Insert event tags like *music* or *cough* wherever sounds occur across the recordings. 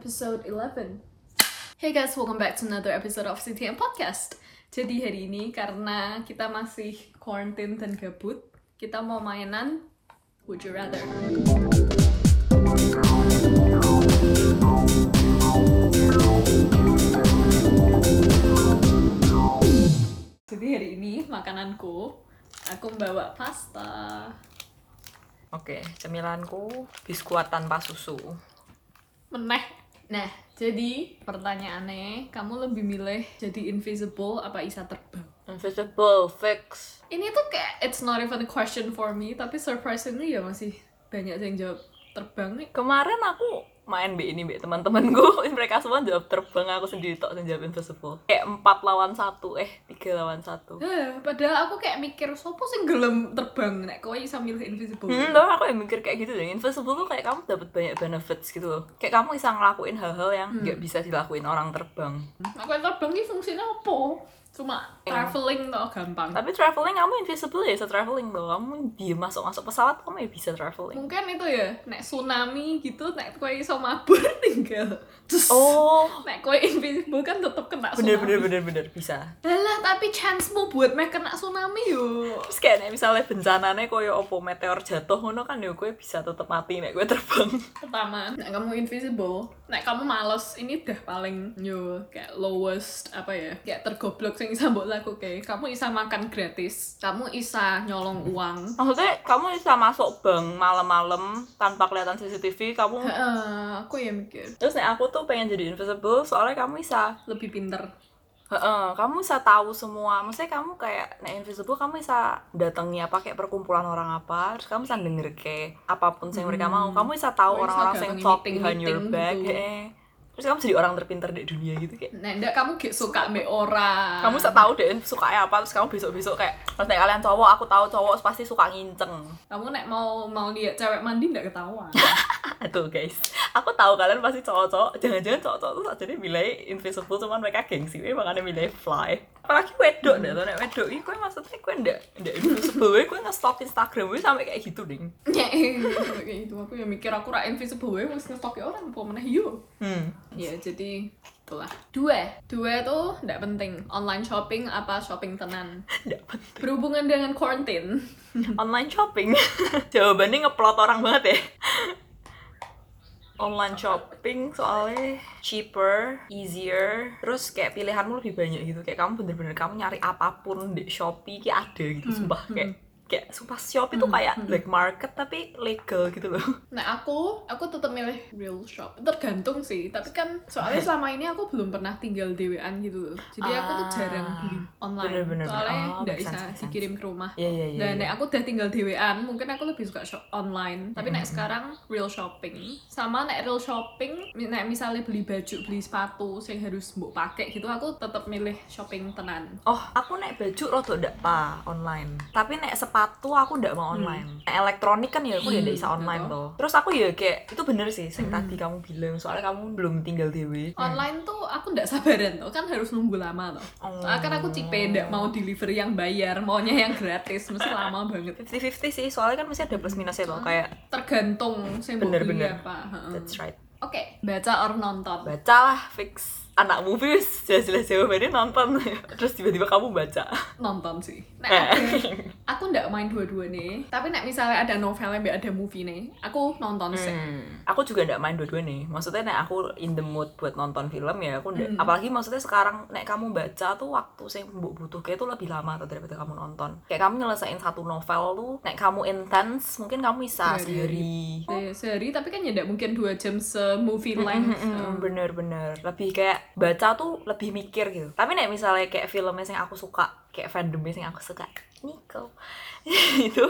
episode 11 Hey guys, welcome back to another episode of CTM Podcast Jadi hari ini karena kita masih quarantine dan gabut Kita mau mainan Would You Rather Jadi hari ini makananku Aku membawa pasta Oke, cemilanku biskuit tanpa susu. meneh nah jadi pertanyaannya kamu lebih milih jadi invisible apa bisa terbang Invisible fix. ini tuh kayak it's not even a question for me tapi surprisingly ya masih banyak yang jawab terbang nih Kemarin aku main B ini B teman-temanku, *laughs* mereka semua jawab terbang, aku sendiri tok yang jawab invisible. Kayak 4 lawan 1, eh 3 lawan 1. Heh, Ya, padahal aku kayak mikir sopo sing gelem terbang nek kowe bisa milih invisible Hmm, loh aku yang mikir kayak gitu deh. Invisible tuh kayak kamu dapat banyak benefits gitu loh. Kayak kamu bisa ngelakuin hal-hal yang nggak bisa dilakuin orang terbang. aku yang Nah, terbang ini fungsinya apa cuma traveling tuh gampang Tapi traveling kamu invisible ya, bisa traveling loh. Kamu dia masuk-masuk pesawat kamu ya bisa traveling. mungkin itu ya nek tsunami gitu nek kowe iso mabur *laughs* tinggal Terus, Oh, nek kowe invisible kan tetep kena tsunami bener bener bener bener bisa. Alah, tapi chance-mu buat meh kena tsunami yo. Terus kayak nek misalnya bencananya koyo opo meteor jatuh ngono kan ya gue bisa tetep mati nek gue terbang. Pertama, nek kamu invisible, nek kamu males, ini udah paling yo kayak lowest apa ya? Kayak tergoblok sing bisa mbok lakuke. Kamu bisa makan gratis, kamu bisa nyolong uang. *laughs* Maksudnya kamu bisa masuk bank malam-malam tanpa kelihatan CCTV, kamu Heeh, aku ya mikir Terus nek aku tuh pengen jadi invisible soalnya kamu bisa lebih pinter. heeh, kamu bisa tahu semua. Maksudnya kamu kayak nek invisible kamu bisa datangi apa kayak perkumpulan orang apa, terus kamu bisa denger kayak apapun yang mereka mau. Kamu bisa Kamu bisa tahu orang-orang yang datangi talk meeting- behind your meeting back. gitu. heeh. Terus kamu jadi orang terpinter di dunia gitu kayak Nek ndak kamu gak suka mbek ora. kamu bisa tahu deh sukanya apa terus kamu besok besok kayak terus nek kalian cowok aku tahu cowok pasti suka nginceng *laughs* kamu nek mau mau lihat cewek mandi ndak *laughs* ketahuan. aduh guys aku tahu kalian pasti cowok-cowok jangan-jangan cowok-cowok tuh jadi milih invisible cuman mereka gengsi we makanya milih fly apalagi wedok deh tuh nek wedok ini kue maksudnya kue ndak ndak invisible we kue nge-stalk instagram we sampai kayak gitu ding Ya, kayak gitu aku ya mikir aku ra invisible wae wis ngestok ya orang apa meneh yo. hmm Ya, jadi itulah. Dua. Dua itu nggak penting. Online shopping apa shopping tenan. *laughs* ndak penting Berhubungan dengan quarantine. online shopping *laughs* jawabannya ngeplot orang banget ya online shopping soalnya cheaper, easier, terus kayak pilihanmu lebih banyak gitu. Kayak kamu bener-bener kamu nyari apapun di Shopee kayak ada gitu, sumpah kayak kayak sumpah Shopee tuh kayak black market tapi legal gitu loh. Nah, aku, aku tetap milih real shop. Tergantung sih, tapi kan *laughs* soalnya selama ini aku belum pernah tinggal dewean gitu loh. Jadi aku tuh Ah. jarang beli online. Bener-bener. Soalnya Oh, nggak make bisa sense, make sense. dikirim ke rumah. Iya iya iya. Dan nek aku udah tinggal dewean, mungkin aku lebih suka shop online. Tapi nek sekarang real shopping, sama nek real shopping, mi- nek misalnya beli baju, beli sepatu, yang harus mbok pakai gitu, aku tetap milih shopping tenan. Oh, aku naik baju rotok ndak pa online. Tapi naik sepatu aku ndak mau online. Naik elektronik kan ya aku ya ndak bisa Hmm, online betul. tuh. Terus aku ya kayak itu bener sih sing tadi kamu bilang soalnya kamu belum tinggal dewe. Online tuh aku ndak sabaran tuh, kan harus nunggu lama tuh. Oh. Soalnya kan aku tipe ndak Hmm. mau delivery yang bayar, maunya yang gratis, mesti lama banget. 50-50 sih, soalnya kan mesti ada plus minusnya Hmm. loh kayak Tergantung sing mbok Bener, beli bener. apa. Heeh. that's right. Oke, baca or nonton. Bacalah fix anak movie wis jelas-jelas jawabannya nonton *laughs* terus tiba-tiba kamu baca. Nonton sih. Nek Eh. aku aku ndak main dua-duanya tapi nek misalnya ada novelnya mbak ada movie nih aku nonton Hmm. sih Aku juga ndak main dua-dua nih. Maksudnya nek aku in the mood buat nonton film ya aku ndak. Apalagi maksudnya sekarang nek kamu baca tuh waktu sing mbok butuh kayak tuh lebih lama tuh daripada kamu nonton. Kayak kamu nyelesain satu novel tuh nek kamu intense mungkin kamu bisa Sehari. sehari. Se- sehari tapi kan ya ndak mungkin dua jam se movie length eh. Mm, bener-bener lebih kayak baca tuh lebih mikir gitu tapi nek misalnya kayak filmnya yang aku suka kayak fandomnya yang aku suka Nico *laughs* itu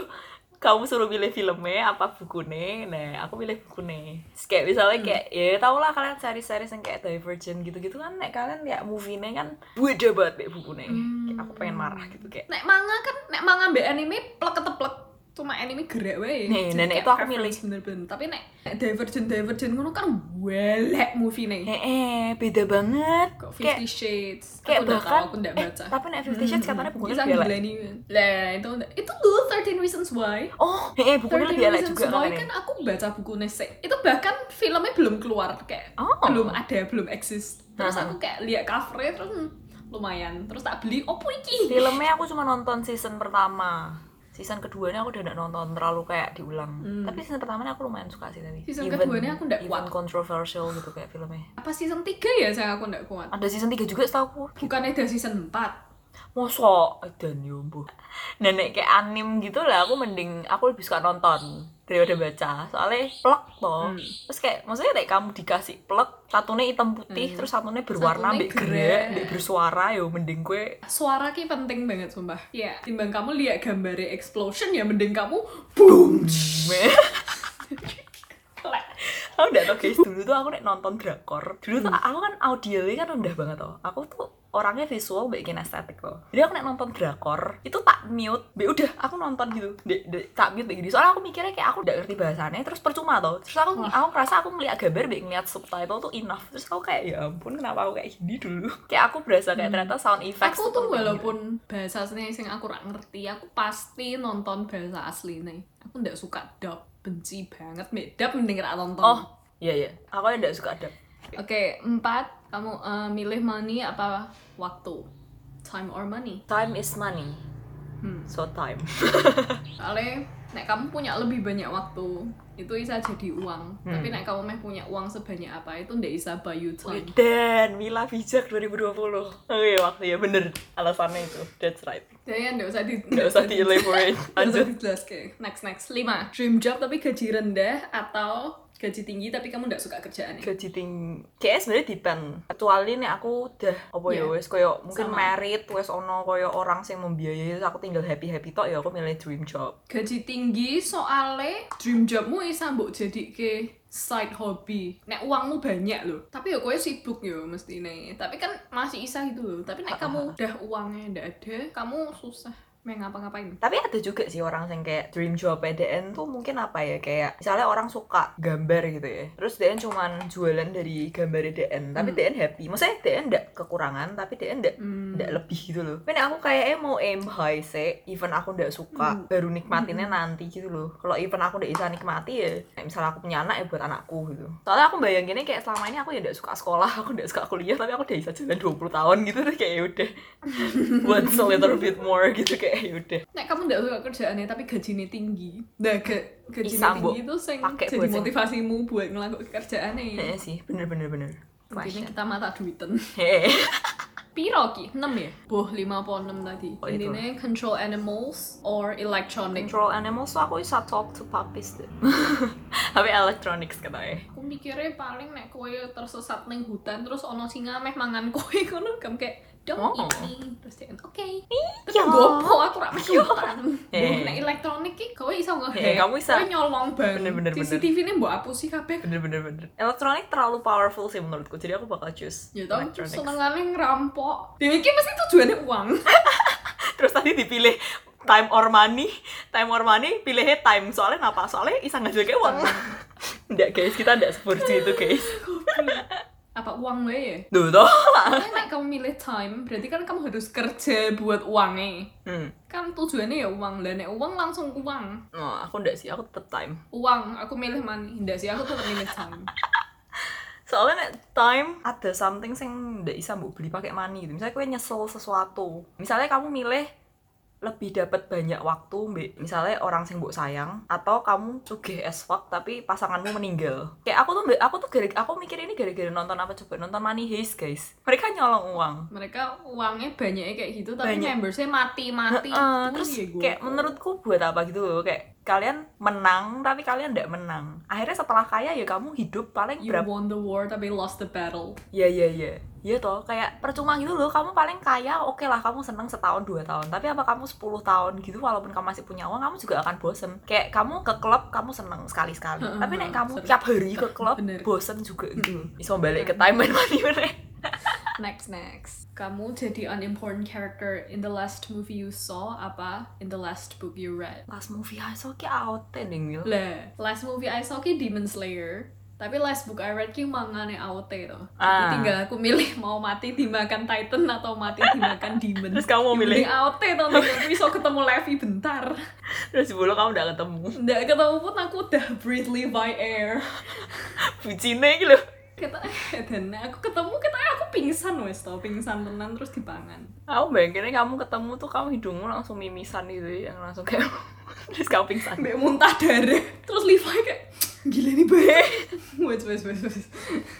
kamu suruh pilih filmnya apa bukunya nah aku pilih bukunya Terus kayak misalnya kayak ya tau lah kalian seri-seri yang kayak Divergent gitu-gitu kan nek kalian lihat movie-nya kan beda Mm. Hmm. banget nek bukunya Kayak aku pengen marah gitu kayak nek manga kan nek manga mbak anime plek keteplek cuma anime gerek wae. Jadi Nih, kayak nenek itu aku preference bener-bener. Tapi nek nek Divergent Divergent ngono kan welek movie nih. eh, eh, beda banget Kok kayak Fifty Shades? kayak aku udah bahkan tahu, aku ndak eh, baca. Hmm. tapi nek Fifty Shades katanya bukunya Bisa lebih elek dibilangin. Lah, itu itu lu 13 Reasons Why. oh eh, eh bukunya 13 lebih elek Reasons juga Why katanya kan aku baca bukunya sih. Itu bahkan filmnya belum keluar kayak oh belum ada, belum eksis. Terus Aha. aku kayak lihat covernya terus hmm, lumayan. Terus tak beli opo iki? filmnya aku cuma nonton season pertama season keduanya aku udah gak nonton terlalu kayak diulang Hmm. tapi season pertamanya aku lumayan suka sih tapi Season keduanya aku nggak even kuat. controversial gitu kayak filmnya Apa season 3 ya saya aku ndak kuat. ada season 3 juga setahu aku Bukannya ada season 4. mosok Eh, dan yombo nenek kayak anim gitu lah aku mending aku lebih suka nonton daripada baca soalnya plek toh Hmm. terus kayak maksudnya kayak kamu dikasih plek satunya hitam putih Hmm. terus satunya berwarna Satunya ambek gerak. gerak ambek bersuara yo mending gue Suara ki penting banget sumpah. Iya. Ya, timbang kamu lihat gambarnya explosion ya mending kamu boom. Lek. aku udah tau guys dulu tuh aku nek nonton drakor dulu tuh Hmm. aku kan audionya kan rendah banget tuh aku tuh orangnya visual mbak kinestetik loh jadi aku nek nonton drakor itu tak mute mbak udah aku nonton gitu Dek- dek, tak mute mbak gini soalnya aku mikirnya kayak aku udah ngerti bahasannya terus percuma tuh terus aku aku ngerasa aku ngeliat gambar mbak ngeliat subtitle tuh enough terus aku kayak ya ampun kenapa aku kayak gini dulu *laughs* kayak aku berasa kayak ternyata sound effects Hmm. aku tuh penting gitu. walaupun bahasa aslinya sing aku rak ngerti, aku pasti nonton bahasa aslinya. Aku ndak suka dub, benci banget mek dub mending ra nonton. oh iya iya aku yang gak suka ada Oke, empat kamu eh, milih money apa waktu? Time or money? time is money Hmm. so time Soalnya nek kamu punya lebih banyak waktu, itu bisa jadi uang. Hmm. Tapi nek kamu meh punya uang sebanyak apa, itu ndak bisa buy you time. Dan Mila Bijak 2020 Oke waktu ya bener Alasannya itu That's right Jadi kan ndak usah di Gak usah di *laughs* elaborate Lanjut Lanjut. Next next lima. Dream job tapi gaji rendah atau gaji tinggi tapi kamu nggak suka kerjaannya. Gaji tinggi Kayaknya sebenernya depend Kecuali nih aku udah Apa ya Iya. wes Kayak mungkin Sama. merit Wes ono kayak orang sing membiayai terus Aku tinggal happy-happy tok ya Aku milih dream job Gaji tinggi soale dream jobmu bisa mbok jadi ke side hobby. Nek uangmu banyak loh. Tapi ya kowe sibuk yo mesti Tapi kan masih isa gitu loh. Tapi nek kamu udah uangnya ndak ada, kamu susah mau ngapa-ngapain. tapi ada juga sih orang yang kayak dream job PDN tuh mungkin apa ya kayak misalnya orang suka gambar gitu ya terus DN cuman jualan dari gambar DN tapi Hmm. DN happy maksudnya DN ndak kekurangan tapi DN ndak Hmm. ndak lebih gitu loh. Men aku kayaknya mau aim high sih, even aku ndak suka, baru nikmatinnya nanti gitu loh. Kalau even aku ndak bisa nikmati ya, kayak misalnya aku punya anak ya buat anakku gitu. Soalnya aku bayanginnya kayak selama ini aku ya ndak suka sekolah, aku ndak suka kuliah, tapi aku udah bisa jalan 20 tahun gitu terus kayak yaudah. Once a little bit more gitu kayak yaudah. Nek kamu ndak suka kerjaannya tapi gajinya tinggi. Nah, ga, Isa, gajinya Mbok. tinggi itu sing Pakai jadi buat sing- motivasimu buat ngelakuin kerjaannya. Iya sih, bener-bener bener. Intinya Question. kita mata duiten. Heeh. Piro ki? 6 ya? Boh, 5 apa 6 tadi. Oh, itu. Intinya control animals or electronic. Control animals tuh aku bisa talk to puppies deh. *laughs* tapi electronics katanya. Aku mikirnya paling nek kowe tersesat ning hutan terus ono singa meh mangan kowe *laughs* ngono kamu kayak don't Oh. eat me. Terus dia oke. Tapi Iya. gopo aku ra meh ke hutan. *laughs* Eh. Boh, nek elektronik ki kowe iso nge Eh, kamu iso. Kowe nyolong banget. Bener-bener, bener. CCTV-ne mbok hapusi kabeh. bener bener bener elektronik terlalu powerful sih menurutku jadi aku bakal choose Ya tau electronics. senengane ngerampok. Dewe iki mesti tujuannya uang. *laughs* terus tadi dipilih time or money time or money pilihnya time soalnya napa soalnya isa ngajak *laughs* uang enggak guys kita enggak seperti itu guys Apa uang wae ya? duh toh Tapi nek kamu milih time, berarti kan kamu harus kerja buat uangnya. hmm. Kan tujuannya ya uang, dan nek uang langsung uang. Oh, aku enggak sih aku tetap time Uang, aku milih money. Nggak sih, aku tetap milih time. soalnya nek time ada something sing ndak bisa mbok beli pakai money gitu misalnya kue nyesel sesuatu misalnya kamu milih lebih dapat banyak waktu mbak misalnya orang sing mbok sayang atau kamu sugih as fuck tapi pasanganmu meninggal kayak aku tuh mbak aku tuh gara aku mikir ini gara-gara nonton apa coba nonton money heist guys mereka nyolong uang Mereka uangnya banyaknya kayak gitu, tapi Banyak. membersnya mati-mati. Eh, Itu terus ya gue. kayak menurutku buat apa gitu loh kayak kalian menang tapi kalian ndak menang akhirnya setelah kaya ya kamu hidup paling You berapa won the war, tapi lost the battle. Iya iya iya. Iya toh, kayak percuma gitu loh. Kamu paling kaya, oke lah kamu seneng setahun dua tahun. Tapi apa kamu 10 tahun gitu walaupun kamu masih punya uang, kamu juga akan bosen. Kayak kamu ke klub, kamu seneng sekali-sekali. Heeh, Tapi nek kamu seru. tiap hari ke klub, Bener. bosen juga gitu. Bisa balik ke time and money meneh. next next. Kamu jadi an important character in the last movie you saw apa in the last book you read? Last movie I saw ah, ki outstanding mil. Lah, last movie I saw ki Demon Slayer. Tapi last book I read ki mangane AOT tuh. Jadi Ah. tinggal aku milih *laughs* mau mati dimakan Titan atau mati *laughs* dimakan Demon. Terus kamu mau Yang milih? penting AOT tuh nanti aku bisa ketemu Levi bentar. Terus sebelum kamu udah ketemu. *laughs* Nggak ketemu pun aku udah Bradley by air. Bucine iki lho. Kita *laughs* dan aku ketemu kita aku pingsan wes tau pingsan tenan terus dipangan. Aku bayanginnya kamu ketemu tuh kamu hidungmu langsung mimisan gitu yang langsung kayak *laughs* terus kamu pingsan. Mbak muntah darah. Terus Levi kayak gila nih bae. *laughs* Wes wes wes wes.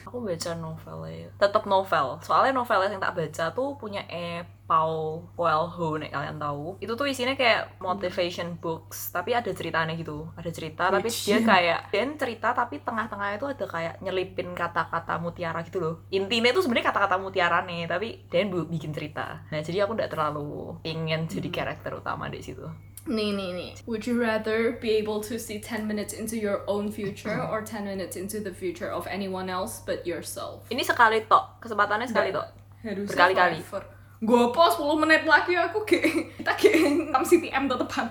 Aku baca novelnya, tetap novel. Soalnya novelnya yang tak baca tuh punya E. Paul Coelho nih kalian tahu. Itu tuh isinya kayak motivation books, tapi ada ceritanya gitu. Ada cerita, tapi Which dia you- kayak dan cerita tapi tengah-tengahnya itu ada kayak nyelipin kata-kata mutiara gitu loh. Intinya itu sebenarnya kata-kata mutiara nih, tapi dan bu- bikin cerita. Nah jadi aku nggak terlalu ingin jadi karakter utama di situ. Nih nih nih. Would you rather be able to see 10 minutes into your own future or 10 minutes into the future of anyone else but yourself? Ini sekali tok, kesempatannya sekali Nggak. tok. *laughs* Harus Berkali-kali. Gue pos 10 menit lagi aku ge *laughs* kita ge tam CTM tetepan.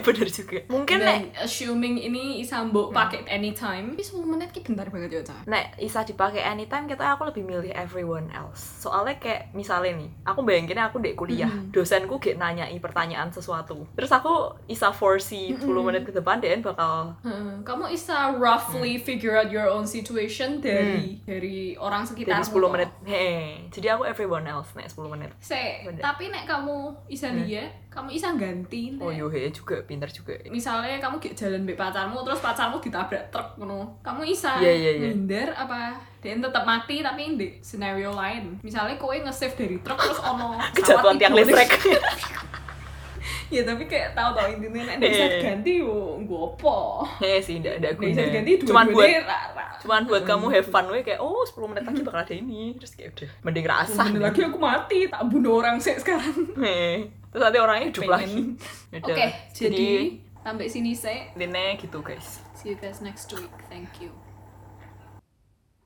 Bener juga. Mungkin nek Dan assuming ini bisa mbok pakai anytime. Hmm. Tapi 10 menit ki bentar banget ya, Cah. Nek bisa dipakai anytime kita aku lebih milih everyone else. Soalnya kayak misalnya nih, aku bayanginnya aku di kuliah, dosenku kayak nanyai pertanyaan sesuatu. Terus aku bisa foresee 10 menit ke depan dan bakal Hmm, Kamu bisa roughly Hmm. figure out your own situation dari dari orang sekitar. jadi 10 Hmm. menit. Hei, jadi aku everyone else nek 10 menit. Se, Bener. tapi nek kamu isa liya, kamu isa ganti. Nek. Oh yo hei juga pinter juga. Misalnya kamu gak jalan mbek pacarmu terus pacarmu ditabrak truk ngono. Kamu isa Iya, iya, iya. ngindar apa dan tetap mati tapi di scenario lain. Misalnya kowe nge-save dari truk terus *laughs* ono pesawat Kejatuhan tiang idolis. *laughs* listrik. ya tapi kayak tahu tahu intinya nek Iya, bisa iya. ganti yo nggo apa. Hei sih ndak ada Nek bisa guna. ganti dua Cuman buat buat cuman buat kamu have fun we kayak oh 10 menit lagi bakal ada ini. Terus kayak udah mending rasa. lagi *laughs* aku mati tak bunuh orang sih sekarang. Hei, terus nanti orangnya hidup Pengen. lagi. Udah. Oke, jadi sampai sini saya. intinya gitu guys. See you guys next week. Thank you.